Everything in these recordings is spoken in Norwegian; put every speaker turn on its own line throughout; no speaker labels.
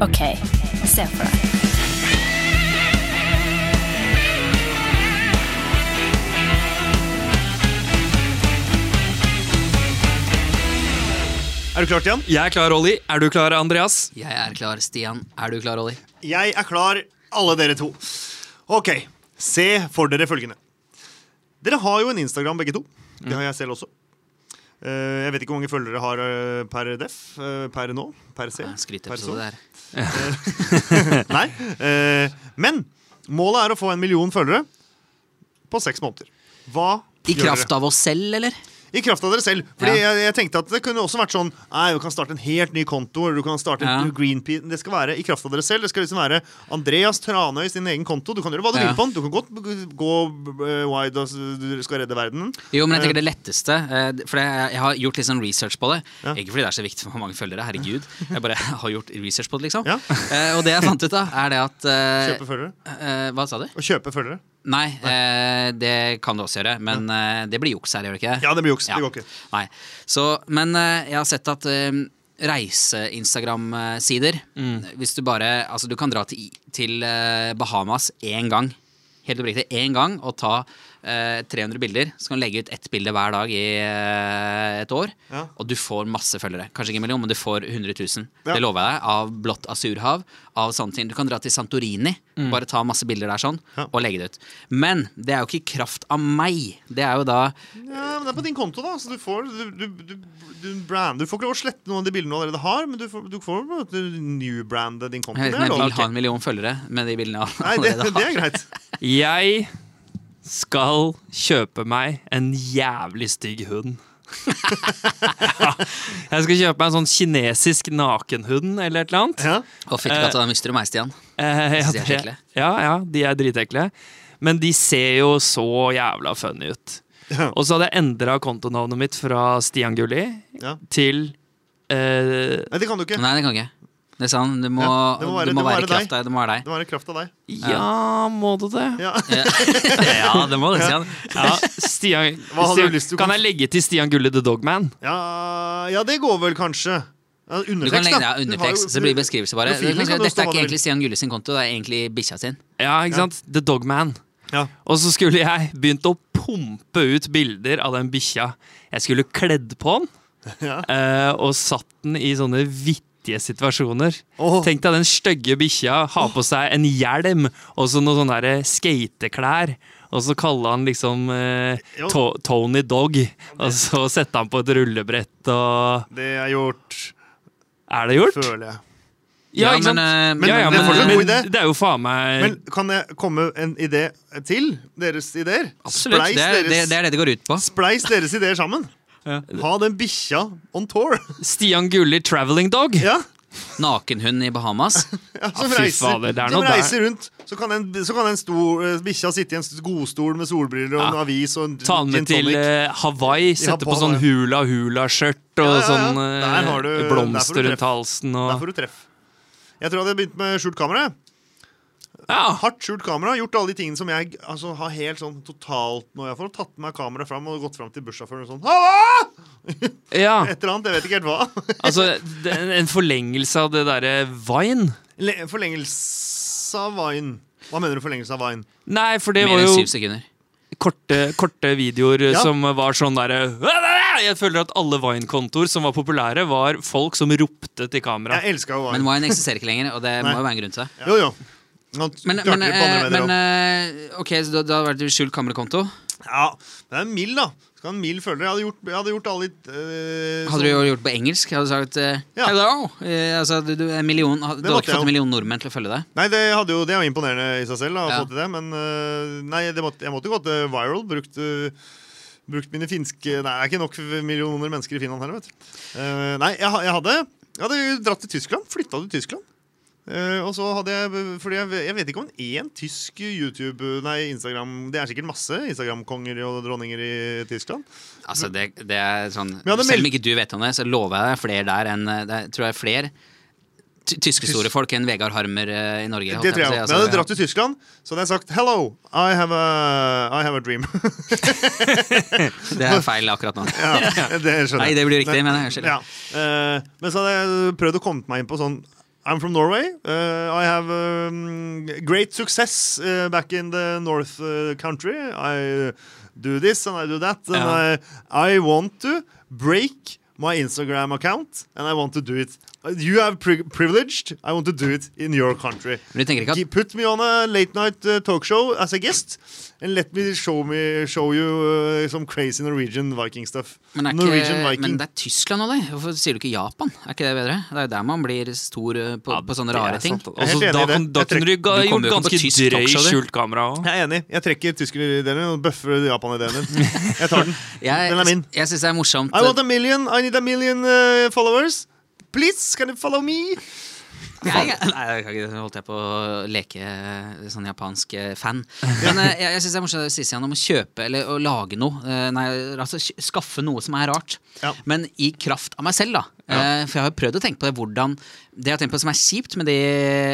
OK, se for deg.
Er du klar, Stian?
Jeg er klar, Olli. Er du klar, Andreas?
Jeg er klar, Stian. Er du klar, Olli?
Jeg er klar, alle dere to. Ok, se for dere følgende. Dere har jo en Instagram, begge to. Det har jeg selv også. Eh, Jeg vet ikke hvor mange følgere dere har eh, per def, eh, per nå, per se. per så.
Skryteepisode der.
Nei. eh, Men målet er å få en million følgere på seks måneder. Hva
I
gjør
kraft av oss selv, eller?
I kraft av dere selv. Fordi
Ja.
jeg, jeg tenkte at det kunne også vært sånn Nei, du kan starte en helt ny konto. Eller du kan starte
Ja.
en Greenpeace Det skal være i kraft av dere selv. Det skal liksom være Andreas Tranøy sin egen konto. Du kan gjøre hva du
Ja.
vil på den. Du kan godt b- gå eh, wide og s- du skal redde verden.
Jo, men jeg tenker det letteste eh, For jeg, jeg har gjort litt sånn research på det.
Ja.
Ikke fordi det er så viktig for hvor mange følgere, herregud. Jeg bare har gjort research på det, liksom.
Ja.
Eh, og det jeg fant ut av, er det at eh,
Kjøpe følgere.
eh, Hva sa du?
Og kjøpe følgere.
Nei, eh, det kan du også gjøre, men eh, det blir juks her, gjør det ikke?
Ja, det blir juks.
Ja.
Det går ikke.
Nei. Så, men eh, jeg har sett at eh, reise-Instagram-sider
Mm.
Hvis du bare Altså, du kan dra til, til eh, Bahamas én gang. Helt oppriktig én gang og ta eh, 300 bilder. Så kan du legge ut ett bilde hver dag i eh, et år.
Ja.
Og du får masse følgere. Kanskje ikke en million, men du får 100 000.
Ja.
Det lover jeg deg. Av blått asurhav. Av sånne ting. Du kan dra til Santorini. Bare ta masse bilder der sånn,
Mm. Ja.
og legge det ut. Men det er jo ikke i kraft av meg. Det er jo da
Ja, men det er på din konto, da. Så du får Du, du, du, du, brand, du får ikke lov å slette noen av de bildene du allerede har, men du får, du får på en måte newbrande din konto.
Jeg vet
Det er
ikke om jeg
lov.
vil ha en million følgere med de bildene jeg
Nei, det,
allerede
det
har.
er greit.
Jeg skal kjøpe meg en jævlig stygg hund. ja. Jeg skal kjøpe meg en sånn kinesisk nakenhund eller et eller annet.
Ja.
Og fittekatta, da mister du meg, Stian.
Eh, ja,
de er
det-
ekle.
Ja, ja, de er dritekle. Men de ser jo så jævla funny ut.
Ja.
Og så hadde jeg endra kontonavnet mitt fra Stian Gulli
Ja.
til eh,
Nei, det kan du ikke.
Nei, det kan jeg ikke. Det sa han. Det må,
Ja,
det må være, det må være
deg.
kraft deg. Det må være deg.
Det var i kraft av deg.
Ja, må du det?
Ja.
Ja, det må det, Stian.
Ja, Stian,
Hva hadde du lyst til å
Stian, kan jeg legge til Stian Gulli The Dogman?
Ja, ja det går vel kanskje. Ja,
Du
undertekst,
kan
da.
legge deg
Du har
undertekst,
jo-
så det blir beskrivelse bare.
Profilen kan du
Dette
stå
er
hva du vil.
ikke egentlig Stian Gulli sin konto, det er egentlig bikkja sin.
Ja, ikke sant? The Dogman.
Ja.
Og så skulle jeg begynt å pumpe ut bilder av den bikkja. Jeg skulle kledd på den,
Ja.
eh, og satt den i sånne vittige situasjoner.
Åh.
Tenk deg den stygge bikkja har på seg en hjelm og så noen sånne der skateklær. Og så kaller han liksom eh,
Jo.
to Tony Dog, og så setter han på et rullebrett og
Det er gjort,
Er det gjort?
føler jeg.
Ja,
Ja,
ikke sant?
men, eh,
ja,
det
ja, men,
er fortsatt en
men,
god idé.
det er jo faen meg
Men kan jeg komme en idé til? Deres ideer?
Absolutt.
Spleis
Det er,
deres,
det, det er det det går ut på.
Spleis deres ideer sammen. Ha den bikkja on tour.
Stian Gulli Traveling Dog.
Ja,
Nakenhund i Bahamas.
ja
Ah,
Som,
fy
reiser,
fader, det er
som
noe der.
reiser rundt. Så kan, en, så kan en stor, eh, bikkja sitte i en godstol med solbriller
Ah,
og en avis og en
Ta han med
gin tonic.
til eh, Hawaii, sette på
Hawaii.
sånn hula-hula-skjørt og
Ja, ja, ja.
sånn eh,
Der har du- der får du
blomster
treff.
rundt halsen
Der
og
får du treff. Jeg tror jeg hadde begynt med skjult kamera. jeg.
Ja,
hardt skjult kamera. Gjort alle de tingene som jeg altså, har helt sånn totalt nå. Jeg får tatt med meg kameraet fram og gått fram til bussjåføren og sånn Halla!
ja.
Et eller annet, jeg vet ikke helt hva.
altså det- en forlengelse av det derre Vine.
Le- Forlengelse av Vine. Hva mener du forlengelse av Vine?
Nei, for det
Mer
var
enn
jo
syv sekunder.
korte, korte videoer
Ja.
som var sånn derre Jeg føler at alle Vine-kontoer som var populære, var folk som ropte til kamera.
Jeg elska jo
Men
Vine.
wine eksisterer ikke lenger, og det må
Nei.
jo være en grunn til det.
Jo, jo. Han
Men,
klarte
men,
litt på andre
eh, men
medier også.
eh, OK, så da, da har det vært skjult kamerakonto.
Ja, det er en mild, da. Skal ha en mild følger. Jeg hadde gjort, jeg hadde gjort alle litt eh,
Hadde du
sånn-
jo gjort det på engelsk? Hadde du sagt eh,
Ja.
hello? Eh, altså, du, du, en million, ha-
måtte
du hadde ikke
jeg jo.
fått en million nordmenn til å følge deg?
Nei, det, hadde jo, det er jo imponerende i seg selv, da, å
Ja.
få til det, men eh, nei, det måtte, jeg måtte gått eh, viral. Brukt, eh, brukt mine finske Nei, det er ikke nok millioner mennesker i Finland heller, vet du. Eh, nei, jeg, ha- jeg, hadde, jeg hadde jo dratt til Tyskland. Flytta til Tyskland. Eh, og så hadde jeg Fordi jeg, jeg vet ikke om én tysk YouTube Nei, Instagram Det er sikkert masse Instagram-konger og dronninger i Tyskland.
Altså, det, det er sånn
Men jeg hadde
Selv om
meldt-
ikke du vet om det, så lover jeg deg flere der enn eh, Det er, tror jeg er flere ty- tyske store folk enn Vegard Harmer eh, i Norge. holdt
Det
jeg
tror
på å
jeg. Men
si.
jeg
Altså,
hadde
ja.
dratt til Tyskland, så hadde jeg sagt Hello, I have a, I have a dream.
Det er feil akkurat nå.
ja, det skjønner jeg.
Nei, det blir riktig, men jeg skjønner.
Ja. eh, men så hadde jeg prøvd å komme meg inn på sånn I'm from Norway. Uh, I have um, great success uh, back in the North uh, country. I do this and I do that. And
Ja.
I, I want to break my Instagram account, and I want to do it. You have pri privileged. I want to do it in your country.
Men du tenker ikke
Gi-
at
Put me on a late night uh, talk show as a guest, and let me show me show you uh, some crazy Norwegian Viking stuff.
men, er
Norwegian
ikke,
Viking.
men det er Tyskland og det. Hvorfor sier du ikke Japan? Er ikke det bedre? Det er jo der man blir stor eh, på,
Ja,
på sånne
det er
rare ting.
sant, altså.
Jeg er helt enig
Altså, da
i det.
kan, da
Jeg
kunne du ga-
Du kommer
gjort
jo ikke på
ganske
tysk
drøy
talkshow, du.
skjult kamera òg.
Jeg er enig. Jeg trekker tyskerdelen og bøffer Japan-ideen din. Jeg tar den.
Jeg,
Den er min.
jeg syns det er morsomt.
I want a million. I need a million uh, followers. Please, can you follow me?
Nei, jeg- nei, jeg kan ikke- nå holdt jeg på å leke eh, sånn japansk eh, fan. Men eh, jeg, jeg syns det er morsomt Sisi, han om å kjøpe eller å lage noe. Eh, Nei, altså kj- Skaffe noe som er rart.
Ja.
Men i kraft av meg selv, da. Eh, For jeg har jo prøvd å tenke på det hvordan Det jeg har tenkt på som er kjipt med det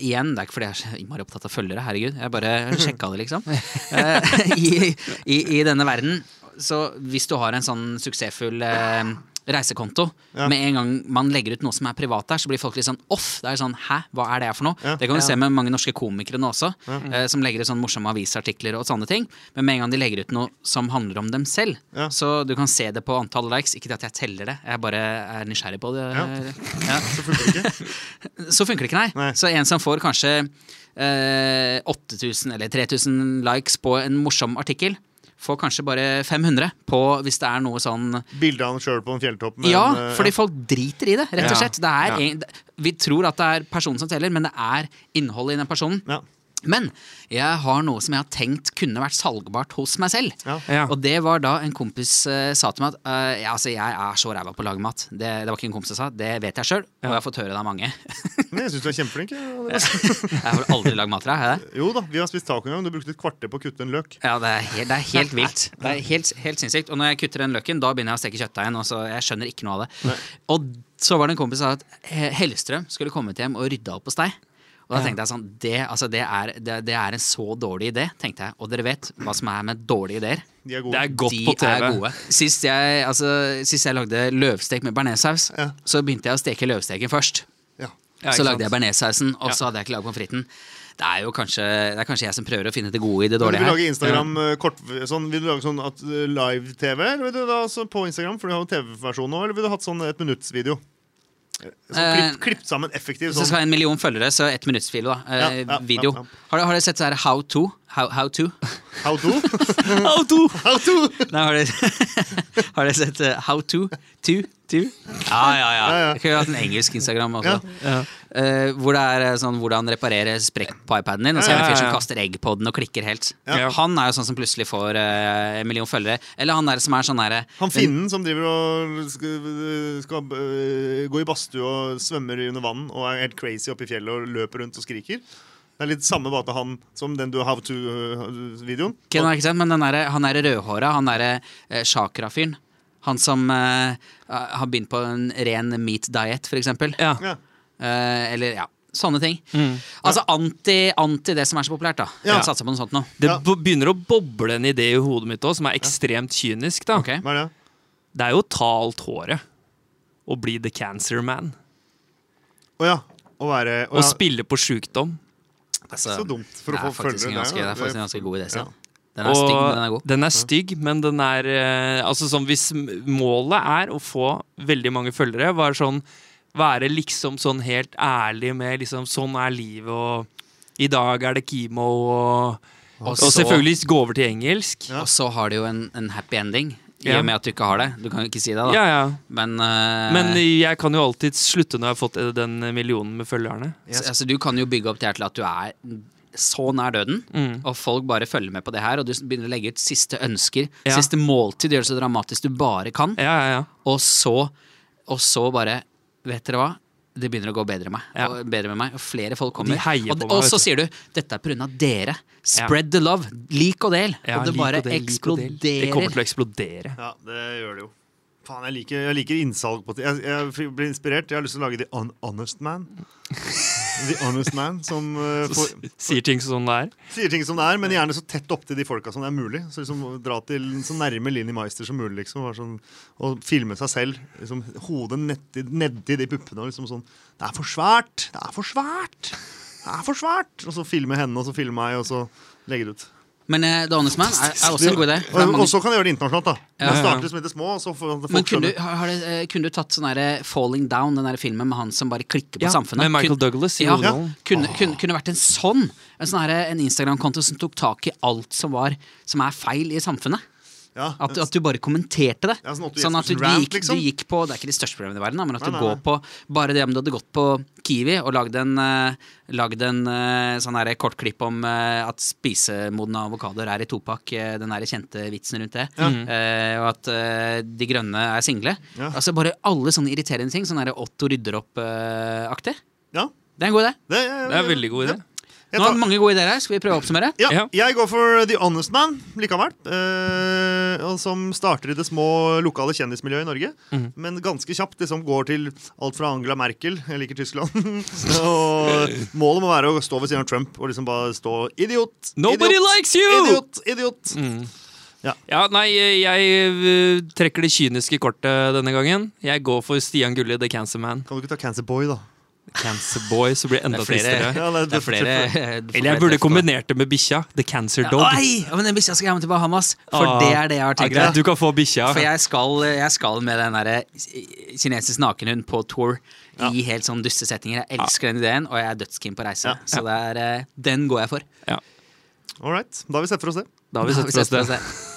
igjen, det er ikke fordi jeg er så innmari opptatt av følgere, herregud. Jeg bare sjekka det, liksom. Eh, I, i, I denne verden. Så hvis du har en sånn suksessfull eh, reisekonto
Ja.
med en gang man legger ut noe som er privat der, så blir folk litt sånn off. Det er sånn, hæ, hva er det her for noe?
Ja.
Det kan du se med mange norske komikere nå også, eh, som legger ut sånn morsomme avisartikler og sånne ting. Men med en gang de legger ut noe som handler om dem selv,
Ja.
så du kan se det på antall likes. Ikke at jeg teller det, jeg bare er nysgjerrig på det.
Ja.
Ja.
Så funker det ikke.
Så funker det ikke, nei.
Nei.
Så en som får kanskje eh, 8000 eller 3000 likes på en morsom artikkel, får kanskje bare 500 på hvis det er noe sånn
Bilde av han sjøl på en fjelltopp. med
ja,
en, uh,
fordi folk driter i det, rett
Ja.
og slett. Det er
Ja.
en, det- vi tror at det er personen som teller, men det er innholdet i den personen.
ja.
Men jeg har noe som jeg har tenkt kunne vært salgbart hos meg selv.
Ja.
Ja.
Og det var da en kompis eh, sa til meg at eh, ja, altså, jeg er så ræva på å lage mat. Det, det var ikke en kompis som sa, det vet jeg sjøl, og jeg har fått høre det av mange.
Men jeg syns du er kjempeflink. jeg, Andreas.
jeg har vel aldri lagd mat til deg, har jeg det?
Jo da, vi har spist taco en gang. Du brukte et kvarter på å kutte en løk.
Ja, det er helt, det er helt vilt. Det er helt, helt sinnssykt. Og når jeg kutter den løkken, da begynner jeg å steke kjøttdeigen. Og så jeg skjønner ikke noe av det. Og så var det en kompis som sa at eh, Hellstrøm skulle kommet hjem og rydda opp hos deg. Og da tenkte jeg sånn, det, altså, det, er, det, det er en så dårlig idé, tenkte jeg. Og dere vet hva som er med dårlige ideer.
De er
Det
gode.
er godt
De
på
er
TV.
gode. Sist jeg, altså, sist jeg lagde løvstek med bearnéssaus,
Ja.
så begynte jeg å steke løvsteken først.
Ja.
Ja, ikke
så lagde
sant?
jeg bearnéssausen, og så
Ja.
hadde jeg ikke lagd pommes fritesen. Det er jo kanskje, det er kanskje jeg som prøver å finne det gode i det
Vil du
dårlige
lage Instagram eh, kort, sånn, Vil du lage sånn at eh, live-TV Eller vil du da altså, på Instagram, for du har jo TV-versjon nå, eller vil du ha hatt sånn et minuttsvideo? Sånn,
Eh,
klipp, klipp sammen effektiv
Så
sånn.
skal jeg ha en million følgere, så ett minutts fil, da. Eh,
Ja, ja,
video.
ja, ja.
Har, du- har dere sett så her How to? How, how to?
How to?
Au, to!
How to?
Nei, har dere, har dere sett eh, How to? To? To? Ja, ja, ja.
Ja, ja.
Jeg kunne hatt en engelsk Instagram også.
Ja.
Ja.
Eh, hvor det er eh, sånn hvordan reparere sprekk på iPaden din. Og så er det en fyr
Ja, ja,
som
ja.
kaster egg på den og klikker helt.
Ja.
Han er jo sånn som plutselig får eh, en million følgere. Eller han der som er sånn derre
Han finnen som driver og skal, skal øh, gå i badstue og svømmer under vann og er helt crazy oppe i fjellet og løper rundt og skriker. Det er litt samme bate han som den du eh, har to-videoen.
Ken er ikke sant, men den derre- han derre rødhåra, han derre eh, chakra-fyren. Han som eh, har begynt på en ren meat diet, for eksempel.
Ja. Mm.
Ja.
Eh, eller ja, sånne ting. Altså anti, anti det som er så populært, da.
Ja.
Jeg satser på noe sånt nå.
Det
Ja.
bo- begynner å boble en idé i hodet mitt òg, som er ekstremt kynisk. da.
Ok.
Hva er det?
Det er jo å ta alt håret og bli the cancer man.
Å ja. Å være å,
Og
ja.
spille på sjukdom.
Altså,
Så dumt for
det,
å
er
få
faktisk en
følgere.
ganske, det er faktisk en ganske god idé.
Ja.
Stian. Den er stygg, men den er god.
Den er stygg, men den er eh, Altså sånn hvis m- målet er å få veldig mange følgere, være sånn Være liksom sånn helt ærlig med liksom Sånn er livet, og i dag er det kimo, og Og,
så-
selvfølgelig gå over til engelsk.
Ja.
Og så har det jo en, en happy ending, i
Ja.
og med at du ikke har det. Du kan jo ikke si det, da.
Ja, ja.
Men, eh,
Men jeg kan jo alltid slutte når jeg har fått eh, den millionen med følgerne.
så- altså, du kan jo bygge opp det her til at du er så nær døden,
Mm.
og folk bare følger med på det her, og du begynner å legge ut siste ønsker,
Ja.
siste måltid, gjør det så dramatisk du bare kan.
Ja, ja, ja.
Og så, og så bare Vet dere hva? Det begynner å gå bedre, med meg,
Ja.
og, bedre med meg, og flere folk
Og
kommer.
de heier
og,
på meg,
og
vet
så
du.
sier du 'dette er pga. dere'. Spread the love. Lik og del.
ja
og det
lik
bare
del, lik og del.
eksploderer.
Det kommer til å eksplodere.
Ja, det gjør det jo. Faen, jeg liker, jeg liker innsalg på ting. Jeg, jeg blir inspirert. Jeg har lyst til å lage The Un Honest Man. The honest man som eh,
Så
får,
s- sier ting som det er.
sier ting som det er, men gjerne så tett opptil de folka som det er mulig. Så liksom Dra til så nærme Linni Meister som mulig. liksom bare sånn, Og filme seg selv. Liksom, hodet netti, nedi de puppene. Og liksom sånn Det er for svært! Det er for svært! Det er for svært! Og så filme henne, og så filme meg, og så legge det ut.
Men eh, The Honest Man er, er også en god idé. for det er
Og,
mange-
og så kan jeg gjøre det internasjonalt. da
Ja,
Man
ja, ja.
starter liksom i det små, og så får folk
Men kunne
skjønne.
du, har har det, eh, kunne du tatt sånn derre Falling Down, den der filmen med han som bare klikker på
Ja,
samfunnet?
med Michael
Kun-
Douglas i
ja,
hovedrollen.
kunne, kunne, kunne vært en sånn En, sånn herre- en Instagram-konto som tok tak i alt som var Som er feil i samfunnet.
Ja,
At, du- at du bare kommenterte det.
Ja, sånn Otto
sånn at du, du,
Jespersen-rant,
gikk,
liksom.
du gikk på Det er ikke de største problemene i verden, da, men at du
Nei, nei,
går på bare det om du hadde gått på Kiwi og lagd en, eh, lagd en eh, sånn her kort klipp om eh, at spisemodne avokadoer er i topakk, eh, den der kjente vitsen rundt det,
Mm.
eh, og at eh, de grønne er single.
Ja.
Altså Bare alle sånne irriterende ting. Sånn derre Otto rydder opp-aktig.
ja,
det er en god idé.
det,
Det er en veldig god idé.
Jeg
Nå
tar-
har vi mange gode ideer her. Skal vi prøve å oppsummere?
Ja,
Ja.
jeg går for The Honest Man likevel. eh, og som starter i det små lokale kjendismiljøet i Norge. Men ganske kjapt liksom går til alt fra Angela Merkel Jeg liker Tyskland. og målet må være å stå ved siden av Trump og liksom bare stå idiot,
Nobody
idiot,
likes you!
idiot, idiot.
Ja, nei, jeg eh, trekker det kyniske kortet denne gangen. Jeg går for Stian Gulli, The Cancer Man.
Kan du ikke ta Cancer Boy, da?
Cancer Boy, så blir det enda
Det er flere-
tristere.
Ja, det er-
Det er flere du får
Eller
flere
jeg burde
treff på.
kombinert det med bikkja. The Cancer Dog.
Nei, men den bikkja skal hjem til Bahamas, for
Ah,
det er det jeg har tenkt.
greit, Du kan få bikkja.
For jeg skal, jeg skal med den der kinesisk nakenhund på tour i helt sånn duste settinger. Jeg elsker den ideen, og jeg er dødskeen på reise.
Ja.
Så det er, eh, den går jeg for.
Ja,
All right. Da har vi sett for oss det.
da har vi
Da
sett for oss det.
oss det.